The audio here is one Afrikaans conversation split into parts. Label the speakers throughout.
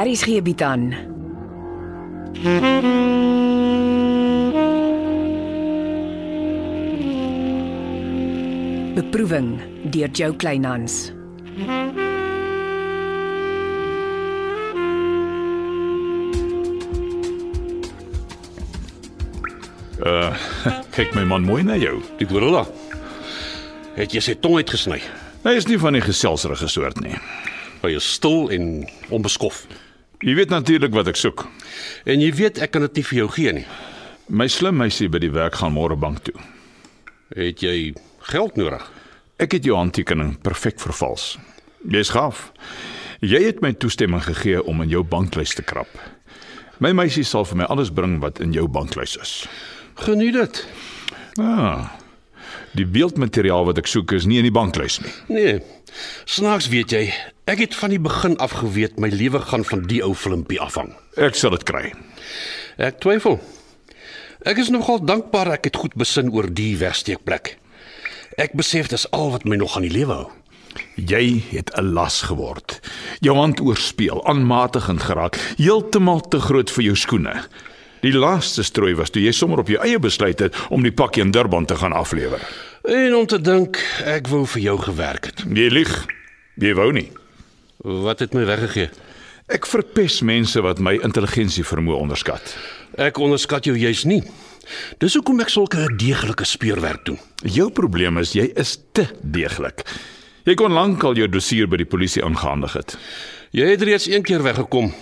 Speaker 1: Aries gee bied aan. Beproeving deur Jo Kleinhans.
Speaker 2: Kyk my man mooi na jou.
Speaker 3: Die gorilla. Het jy sy tong uitgesny?
Speaker 2: Hy is nie van die geselserige soort nie.
Speaker 3: Hy is stil en onbeskof.
Speaker 2: Jy weet natuurlik wat ek soek.
Speaker 3: En jy weet ek kan dit nie vir jou gee nie.
Speaker 2: My slim meisie by die werk gaan môre bank toe.
Speaker 3: Het jy geld nodig?
Speaker 2: Ek het jou handtekening perfek vervals. Jy's gaaf. Jy het my toestemming gegee om in jou banklys te krap. My meisie sal vir my alles bring wat in jou banklys is.
Speaker 3: Geniet dit.
Speaker 2: Ah. Die beeldmateriaal wat ek soek is nie in die banklys nie.
Speaker 3: Nee. Snaaks weet jy, ek het van die begin af geweet my lewe gaan van die ou filmpie afhang.
Speaker 2: Ek sal dit kry.
Speaker 3: Ek twyfel. Ek is nogal dankbaar ek het goed besin oor die wegsteekplek. Ek besef dis al wat my nog aan die lewe hou.
Speaker 2: Jy het 'n las geword. Jou hand oorspeel, aanmatigend geraak, heeltemal te groot vir jou skoene. Die laaste strooi was toe jy sommer op jou eie besluit het om die pakkie in Durban te gaan aflewer.
Speaker 3: En om te dink ek wou vir jou gewerk het.
Speaker 2: Jy Nee, lieg. Jy wou nie.
Speaker 3: Wat het my weggegee?
Speaker 2: Ek verpes mense wat my intelligensie vermoë onderskat.
Speaker 3: Ek onderskat jou juis nie. Dis hoekom ek sulke deeglike speurwerk doen.
Speaker 2: Jou probleem is jy is te deeglik. Jy kon lankal jou dossier by die polisie aangehandig het.
Speaker 3: Jy het reeds een keer weggekom.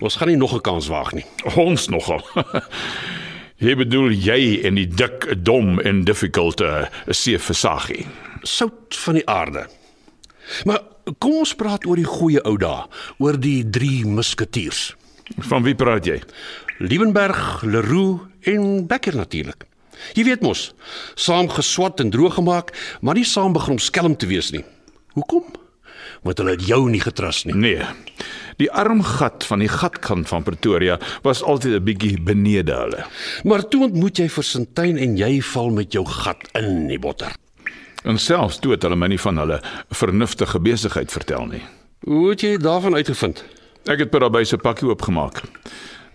Speaker 3: Ons gaan nie nog 'n kans waag nie.
Speaker 2: Ons nogal. Jy bedoel jy en die dik, dom en difficult uh, seeversagie.
Speaker 3: Sout van die aarde. Maar kom ons praat oor die goeie ou dae, oor die drie musketiers.
Speaker 2: Van wie praat jy?
Speaker 3: Liebenberg, Leroux en Becker natuurlik. Jy weet mos, saam geswat en droog gemaak, maar nie saam begin om skelm te wees nie. Hoekom? Want hulle het jou nie getrus nie.
Speaker 2: Nee. Die armgat van die gatkant van Pretoria was altyd 'n bietjie benede hulle.
Speaker 3: Maar toe ontmoet jy vir Sintyn en jy val met jou gat in die botter.
Speaker 2: En selfs toe het hulle my nie van hulle vernuftige besigheid vertel nie.
Speaker 3: Hoe het jy daarvan uitgevind?
Speaker 2: Ek het Paraby se pakkie oopgemaak.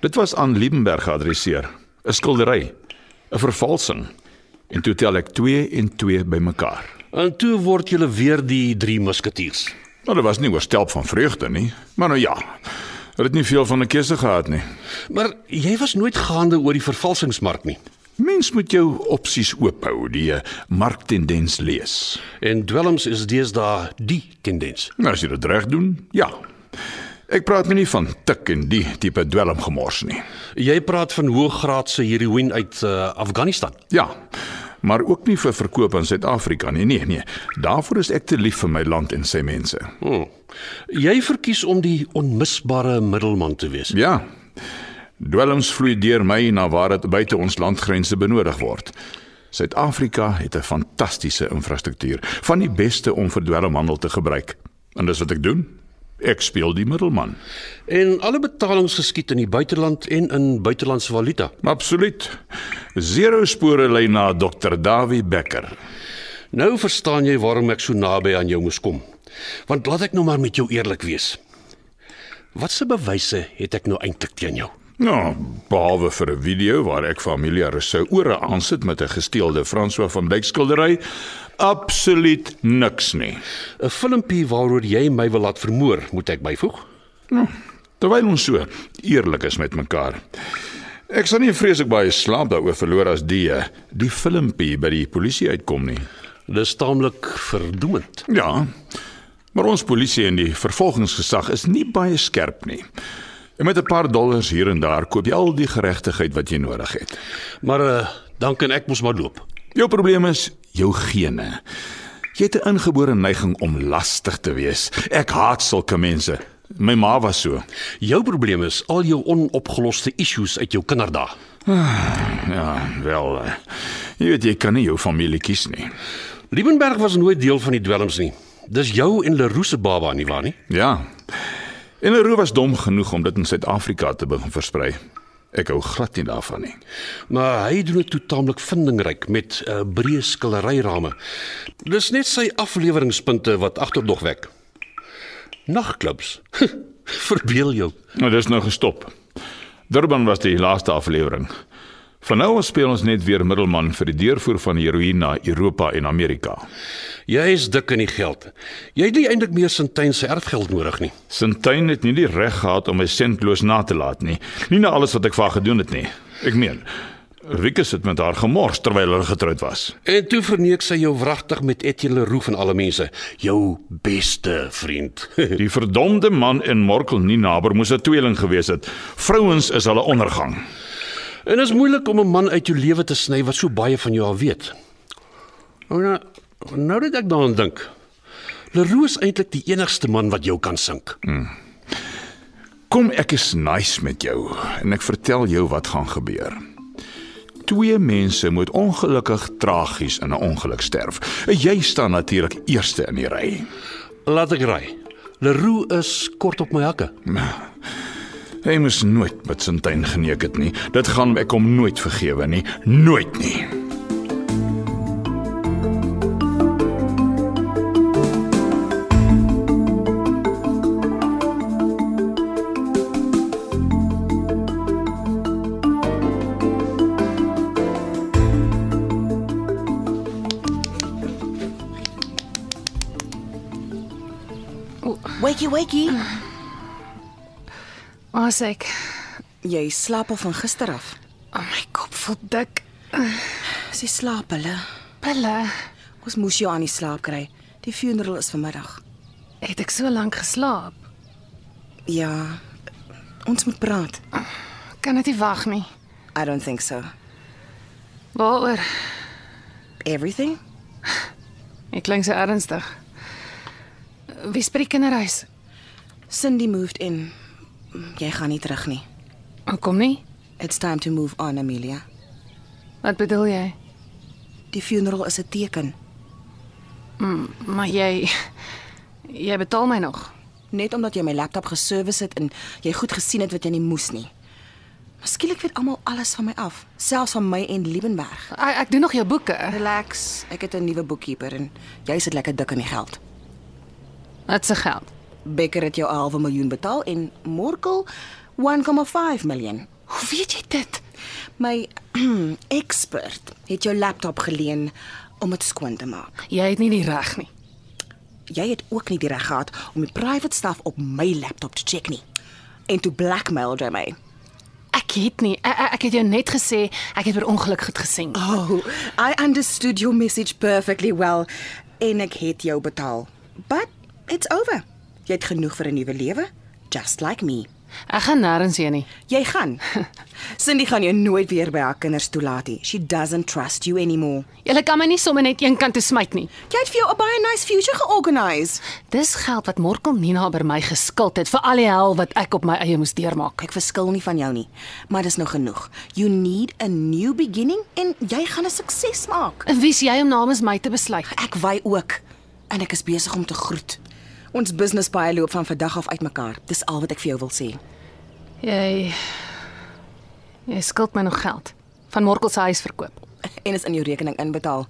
Speaker 2: Dit was aan Liebenberg geadresseer, 'n skildery, 'n vervalsing. En toe tel ek 2 en 2 bymekaar.
Speaker 3: En toe word julle weer die drie musketiers.
Speaker 2: Maar dit was nie oorstelp van vreugde nie, maar nou ja. Hulle het nie veel van 'n keuse gehad nie.
Speaker 3: Maar jy was nooit gaande oor die vervalsingsmark nie
Speaker 2: Mens moet jou opsies oop hou, die eh, marktendens lees.
Speaker 3: en dwelms is deesdae die tendens.
Speaker 2: Nou as jy dit reg doen, ja. Ek praat nie van tik en die tipe dwelmgemors nie.
Speaker 3: Jy praat van hoëgraadse heroïne uit uh, Afghanistan.
Speaker 2: Ja. Maar ook nie vir verkoop aan Suid-Afrika nie. Nee, nee. Daarvoor is ek te lief vir my land en sy mense.
Speaker 3: Hmm. Jy verkies om die onmisbare middelman te wees.
Speaker 2: Ja. Dwelms vloei deur my na waar dit buite ons landgrense benodig word. Suid-Afrika het 'n fantastiese infrastruktuur, van die beste om vir dwelmhandel te gebruik. En dis wat ek doen. Ek speel die middelman.
Speaker 3: En alle betalings geskied in die buiteland en in buitelandse valuta.
Speaker 2: Absoluut. Zero spore lei na Dr. Dawie Becker.
Speaker 3: Nou verstaan jy waarom ek so naby aan jou moes kom. Want laat ek nou maar met jou eerlik wees. Watse bewyse het ek nou eintlik teen jou?
Speaker 2: Nou, behalwe vir 'n video waar ek familie Rousseau ore aansit met 'n gesteelde François van Dyk skildery, absoluut niks nie.
Speaker 3: 'n Filmpie waaroor jy my wil laat vermoor, moet ek byvoeg?
Speaker 2: Nou, terwyl ons so eerlik is met mekaar. Ek sal nie vreeslik baie slaap daaroor verloor as die eh, die filmpie by die polisie uitkom nie.
Speaker 3: Dis taamlik verdoemend.
Speaker 2: Ja. Maar ons polisie en die vervolgingsgesag is nie baie skerp nie. En met 'n paar dollars hier en daar koop jy al die geregtigheid wat jy nodig het.
Speaker 3: Maar uh, dan kan ek mos maar loop.
Speaker 2: Jou probleem is jou gene. Jy het 'n ingebore neiging om lastig te wees. Ek haat sulke mense. My ma was so.
Speaker 3: Jou probleem is al jou onopgeloste issues uit jou kinderdae.
Speaker 2: Ja, wel. eh, Jy weet jy kan nie jou familie kies nie.
Speaker 3: Liebenberg was nooit deel van die dwelms nie. Dis jou en Leroux se baba nie waar nie?
Speaker 2: Ja. En Leroux was dom genoeg om dit in Suid-Afrika te begin versprei. Ek hou glad nie daarvan nie.
Speaker 3: Maar hy doen dit toe taamlik vindingryk met 'n uh, breë skilderyrame. Dis net sy afleweringspunte wat agterdog wek. Nagklubs. Verbeel jou.
Speaker 2: Nou, dis nou gestop. Durban was die laaste aflewering. Van nou af speel ons net weer middelman vir die deurvoer van heroïne na Europa en Amerika.
Speaker 3: Jy is dik in die geld. Jy het nie eintlik meer Sintyn se erfgeld nodig nie.
Speaker 2: Sintyn het nie die reg gehad om my sentloos na te laat nie. Nie na alles wat ek vir haar gedoen het nie. Ek meen, Wieke het met haar gemors terwyl hulle getroud was.
Speaker 3: En toe verneek sy jou wragtig met Etienne Leroux van alle mense, jou beste vriend.
Speaker 2: Die verdomde man in Morkel nie naber moes 'n tweeling gewees het. Vrouens is hulle ondergang.
Speaker 3: en is moeilik om 'n man uit jou lewe te sny wat so baie van jou al weet. Nou nou, nou dat ek daaraan dink. Leroux is eintlik die enigste man wat jou kan sink.
Speaker 2: Kom ek is nice met jou en ek vertel jou wat gaan gebeur. Twee mense moet ongelukkig tragies in 'n ongeluk sterf. Jy staan natuurlik eerste in die ry.
Speaker 3: Laat ek raai. Leroux is kort op my hakke.
Speaker 2: Hy moes nooit met Sintyn geneek het nie. Dit gaan ek hom nooit vergewe nie. Nooit nie.
Speaker 4: Wakey wakey.
Speaker 5: As ek
Speaker 4: Jy slaap al van gister af.
Speaker 5: oh my kop voel dik.
Speaker 4: Sy slaap hulle.
Speaker 5: Pille.
Speaker 4: Ons moes jou aan die slaap kry. Die funeral is vanmiddag.
Speaker 5: Het ek so lank geslaap?
Speaker 4: Ja. Ons moet praat.
Speaker 5: Kan dit nie wag nie.
Speaker 4: I don't think so.
Speaker 5: Waaroor?
Speaker 4: Everything?
Speaker 5: Ek klink so ernstig. Wie spreek kinderhuis?
Speaker 4: Cindy moved in. Jy gaan nie terug nie.
Speaker 5: Hoekom Oh, nie?
Speaker 4: It's time to move on, Amelia.
Speaker 5: Wat bedoel jy?
Speaker 4: Die funeral is 'n teken,
Speaker 5: Maar jy jy betaal my nog.
Speaker 4: net omdat jy my laptop geservice het en jy goed gesien het wat jy nie moes nie. Miskien weet almal alles van my af, selfs van my en Liebenberg.
Speaker 5: Ek, ek doen nog jou boeke.
Speaker 4: Relax, ek het 'n nuwe boekkeeper en jy sit lekker dik in die geld.
Speaker 5: Wat se geld?
Speaker 4: Becker het jou 'n halwe miljoen betaal en Morkel 1,5 miljoen.
Speaker 5: Hoe weet jy dit?
Speaker 4: My expert het jou laptop geleen om dit skoon te maak.
Speaker 5: Jy het nie die reg nie.
Speaker 4: Jy het ook nie die reg gehad om die private stuff op my laptop te check nie. En toe blackmail jy my.
Speaker 5: Ek het nie. Ek, ek- ek het jou net gesê ek het per ongeluk goed gesien.
Speaker 4: Oh, I understood your message perfectly well en ek het jou betaal. But it's over. Jy het genoeg vir 'n nuwe lewe, just like me.
Speaker 5: Ek gaan nêrens heen nie.
Speaker 4: Jy gaan. Cindy gaan jou nooit weer by haar kinders toelaat nie. She doesn't trust you anymore.
Speaker 5: Jy kan my nie sommer net een kant toe smyt nie.
Speaker 4: Jy het vir jou 'n baie nice future georganiseer.
Speaker 5: Dis geld wat Morkel Nina by my geskuld het vir al die hel wat ek op my eie moes deurmaak.
Speaker 4: Ek verskil nie van jou nie, maar dis nou genoeg. You need a new beginning en jy gaan 'n sukses maak.
Speaker 5: En wie's jy om namens my te besluit?
Speaker 4: Ek wy ook en ek is besig om te groet. Ons business baie loop van vandag af uitmekaar. Dis al wat ek vir jou wil sê.
Speaker 5: Jy jy skuld my nog geld van Morkel se huis verkoop.
Speaker 4: En is in jou rekening inbetaal.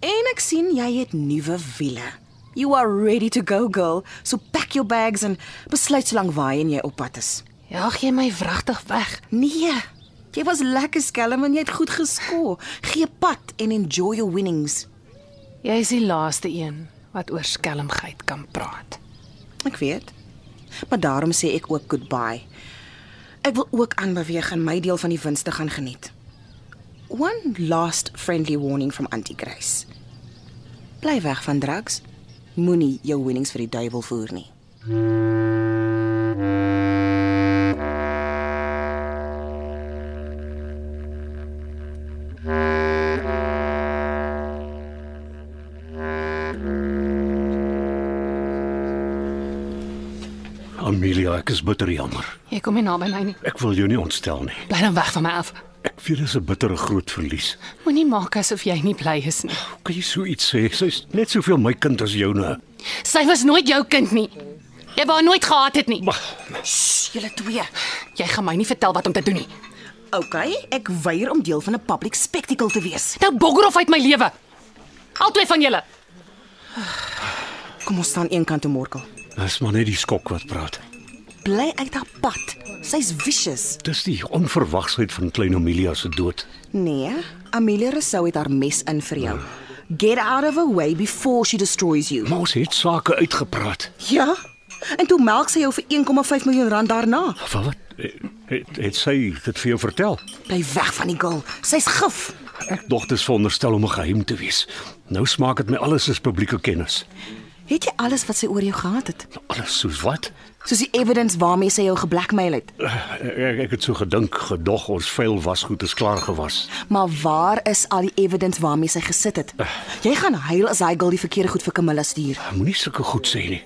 Speaker 4: En ek sien jy het nuwe wiele. You are ready to go girl. So pack your bags en besluit solank waarheen jy op pad is.
Speaker 5: Jaag jy Ja, my wragtig weg.
Speaker 4: Nee. Jy was lekker skelm en jy het goed geskoor. Gee pad en enjoy your winnings.
Speaker 5: Jy is die laaste een wat oor skelmgeit kan praat.
Speaker 4: Ek weet. Maar daarom sê ek ook goodbye. Ek wil ook aanbeweeg en my deel van die wins te gaan geniet. One last friendly warning from Auntie Grace. Bly weg van drugs. Moenie jou winnings vir die duiwel voer nie.
Speaker 3: Amelia, ek is bitter jammer.
Speaker 5: Jy kom nie naby my nie.
Speaker 3: Ek wil jou nie ontstel nie.
Speaker 5: Bly dan weg van my af.
Speaker 3: Ek weet dis 'n bittere groot verlies.
Speaker 5: Moenie maak asof jy nie bly is nie.
Speaker 3: Hoe kan jy so iets sê? Sy's net soveel my kind as nou. joune.
Speaker 5: Sy was nooit jou kind nie. Jy wou haar nooit gehad het nie.
Speaker 4: Julle twee.
Speaker 5: Jy gaan my nie vertel wat om te doen nie.
Speaker 4: OK, ek weier om deel van 'n public spectacle te wees.
Speaker 5: Nou bogger of uit my lewe. Albei van julle.
Speaker 4: Kom ons staan een kant toe, Morkel.
Speaker 3: Dis maar net die skok wat praat.
Speaker 4: Bly uit haar pad. Sy's vicious.
Speaker 3: Dis die onverwagsheid van klein Amelia se dood.
Speaker 4: Nee, Amelia Rousseau het haar mes in vir jou. Get out of her way before she destroys you.
Speaker 3: Maar ons het sake uitgepraat.
Speaker 4: Ja. En toe melk sy jou vir 1,5 miljoen rand daarna.
Speaker 3: Wat wat? Het, Eh, het sy dit vir jou vertel?
Speaker 4: Bly weg van die girl. Sy's gif.
Speaker 3: Ek dog dit is veronderstel om 'n geheim te wees. Nou smaak dit my alles is publieke kennis.
Speaker 4: Het jy alles wat sy oor jou gehad het?
Speaker 3: Alles soos wat?
Speaker 4: Soos die evidence waarmee sy jou geblackmail het.
Speaker 3: Eh, Ek, ek het so gedink, gedog ons vuil wasgoed is klaar gewas.
Speaker 4: Maar waar is al die evidence waarmee sy gesit het? Jy gaan huil as hy girl die verkeerde goed vir Camilla stuur.
Speaker 3: Moenie sulke goed sê nie.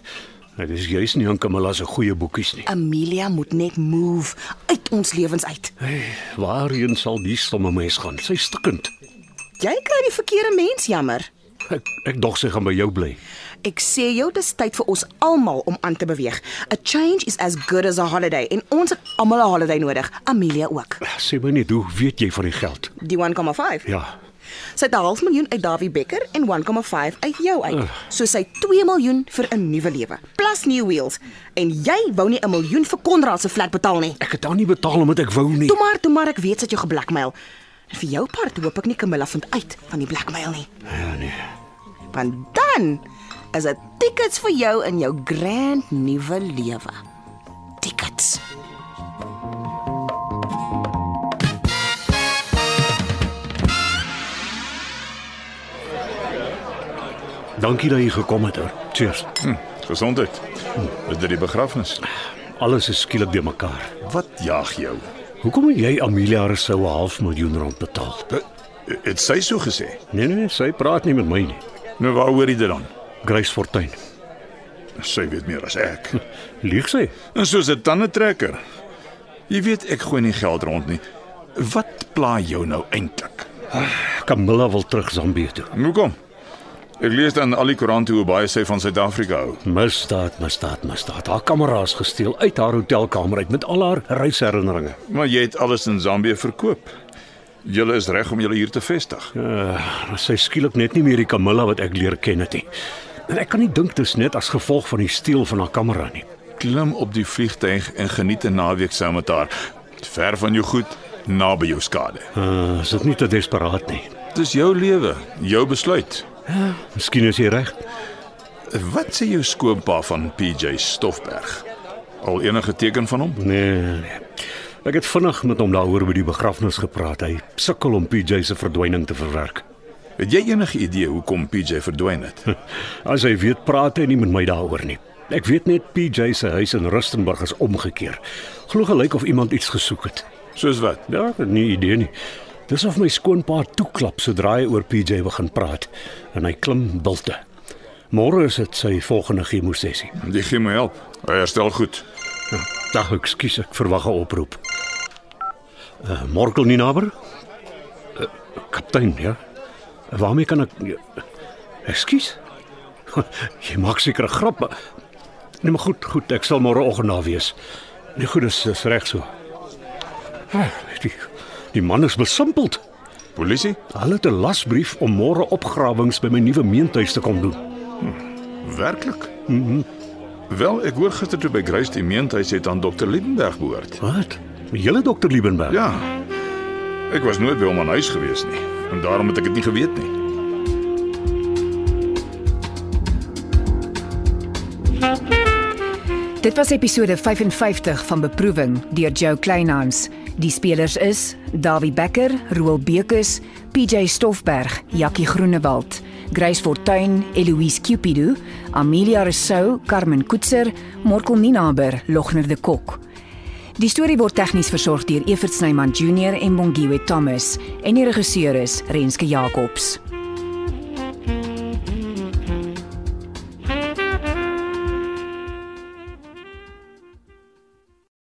Speaker 3: Dit is juis nie aan Kamala se goeie boekies nie.
Speaker 4: Amelia moet net move uit ons lewens uit.
Speaker 3: Waarheen sal die stomme mens gaan? Sy is stikkend.
Speaker 4: Jy kry die verkeerde mens jammer.
Speaker 3: Ek ek dog sy gaan by jou bly.
Speaker 4: Ek sê jou dis tyd vir ons almal om aan te beweeg. A change is as good as a holiday en ons het almal 'n holiday nodig, Amelia ook.
Speaker 3: Sê my net, hoe weet jy van die geld?
Speaker 4: Die 1,5.
Speaker 3: Ja,
Speaker 4: Sy het 'n half miljoen uit Davie Becker en 1,5 uit jou uit. So sy 2 miljoen vir 'n nuwe lewe, plus new wheels. En jy wou nie 'n miljoen vir Konrad se flat betaal nie.
Speaker 3: ek het haar nie betaal omdat ek wou nie.
Speaker 4: Toe maar, toe maar ek weet dat jy geblackmail. En vir jou part hoop ek nie Camilla vind uit van die blackmail nie.
Speaker 3: Ja nee.
Speaker 4: Want dan is dit tickets vir jou in jou grand nuwe lewe. Tickets.
Speaker 3: Dankie dat jy gekom het. Hoor. Cheers.
Speaker 2: Hm, gesondheid. Is dit die begrafnis?
Speaker 3: Alles is skielik de mekaar.
Speaker 2: Wat jaag jou?
Speaker 3: Hoekom het jy Amelia Rousseau 'n half miljoen rand betaal?
Speaker 2: Eh, Het sy so gesê?
Speaker 3: Nee nee, sy praat nie met my nie.
Speaker 2: Nou waar hoor jy dit dan?
Speaker 3: Grace Fortuin.
Speaker 2: Sy weet meer as ek.
Speaker 3: Lieg sy?
Speaker 2: En soos 'n tandetrekker. Jy weet ek gooi nie geld rond nie. Wat pla jou nou eintlik?
Speaker 3: Camilla wil terug Zambië toe.
Speaker 2: Hoekom? Ek lees dan al die koerante hoe baie sy van Suid-Afrika hou.
Speaker 3: Misdaad, misdaad, misdaad. Haar kamera's gesteel uit haar hotelkamer uit met al haar reisherinneringe.
Speaker 2: Maar jy het alles in Zambië verkoop. Julle is reg om julle hier te vestig.
Speaker 3: Uh, sy skielik net nie meer die Camilla wat ek leer ken het nie. En ek kan nie dink dit is net as gevolg van die steel van haar kamera nie.
Speaker 2: Klim op die vliegtuig en geniet 'n naweek saam met haar. Ver van jou goed, naby jou skade.
Speaker 3: Uh, is dit nie te desperaat nie?
Speaker 2: Dis jou lewe, jou besluit.
Speaker 3: Miskien is jy reg.
Speaker 2: Wat sê jou skoonpa van PJ Stoffberg? Al enige teken van hom?
Speaker 3: Nee, nee. Ek het vinnig met hom daaroor by die begrafnis gepraat. Hy sukkel om PJ se verdwyning te verwerk.
Speaker 2: Het jy enige idee hoekom PJ verdwyn het?
Speaker 3: As hy weet praat hy nie met my daaroor nie. Ek weet net PJ se huis in Rustenburg is omgekeer. Glo gelyk of iemand iets gesoek het.
Speaker 2: Soos wat?
Speaker 3: Ja, ek het nie idee nie. Dis of my skoonpa toeklap sodra hy oor PJ begin praat en hy klim bilte. Môre is dit sy volgende chemosessie.
Speaker 2: Die gee my help. Hy herstel goed.
Speaker 3: Dag, ekskuus, ek verwag 'n oproep. Uh, Morkel nie naby? Uh, kaptein, ja. Waarmee kan ek eh, Ekskuus? Jy maak seker 'n grap. maar- Nee, maar goed, goed, ek sal môreoggend daar wees. Nee, goed, dis, dis reg so. Ah, Die, die man is besimpeld.
Speaker 2: Polisie?
Speaker 3: Hulle het 'n lasbrief om môre opgrawings by my nuwe meentuis te kom doen.
Speaker 2: Werklik? Mhm. Wel, ek hoor gister toe by Grace die meentuis het aan dokter Liebenberg behoort.
Speaker 3: Wat? Julle dokter Liebenberg.
Speaker 2: Ja. Ek was nooit by hom aan huis gewees nie en daarom het ek dit nie geweet nie.
Speaker 1: Dit was episode 55 van Beproewing deur Joe Kleinhans. Die spelers is Dawie Becker, Roel Bekus, PJ Stoffberg, Jackie Groenewald, Grace Fortuin, Eloise Cupido, Amelia Rousseau, Carmen Koetser, Morkel Ninaber, Logner de Kok. Die storie word tegnies versorg deur Evert Snyman Junior en Bongwe Thomas en die regisseur is Renske Jacobs.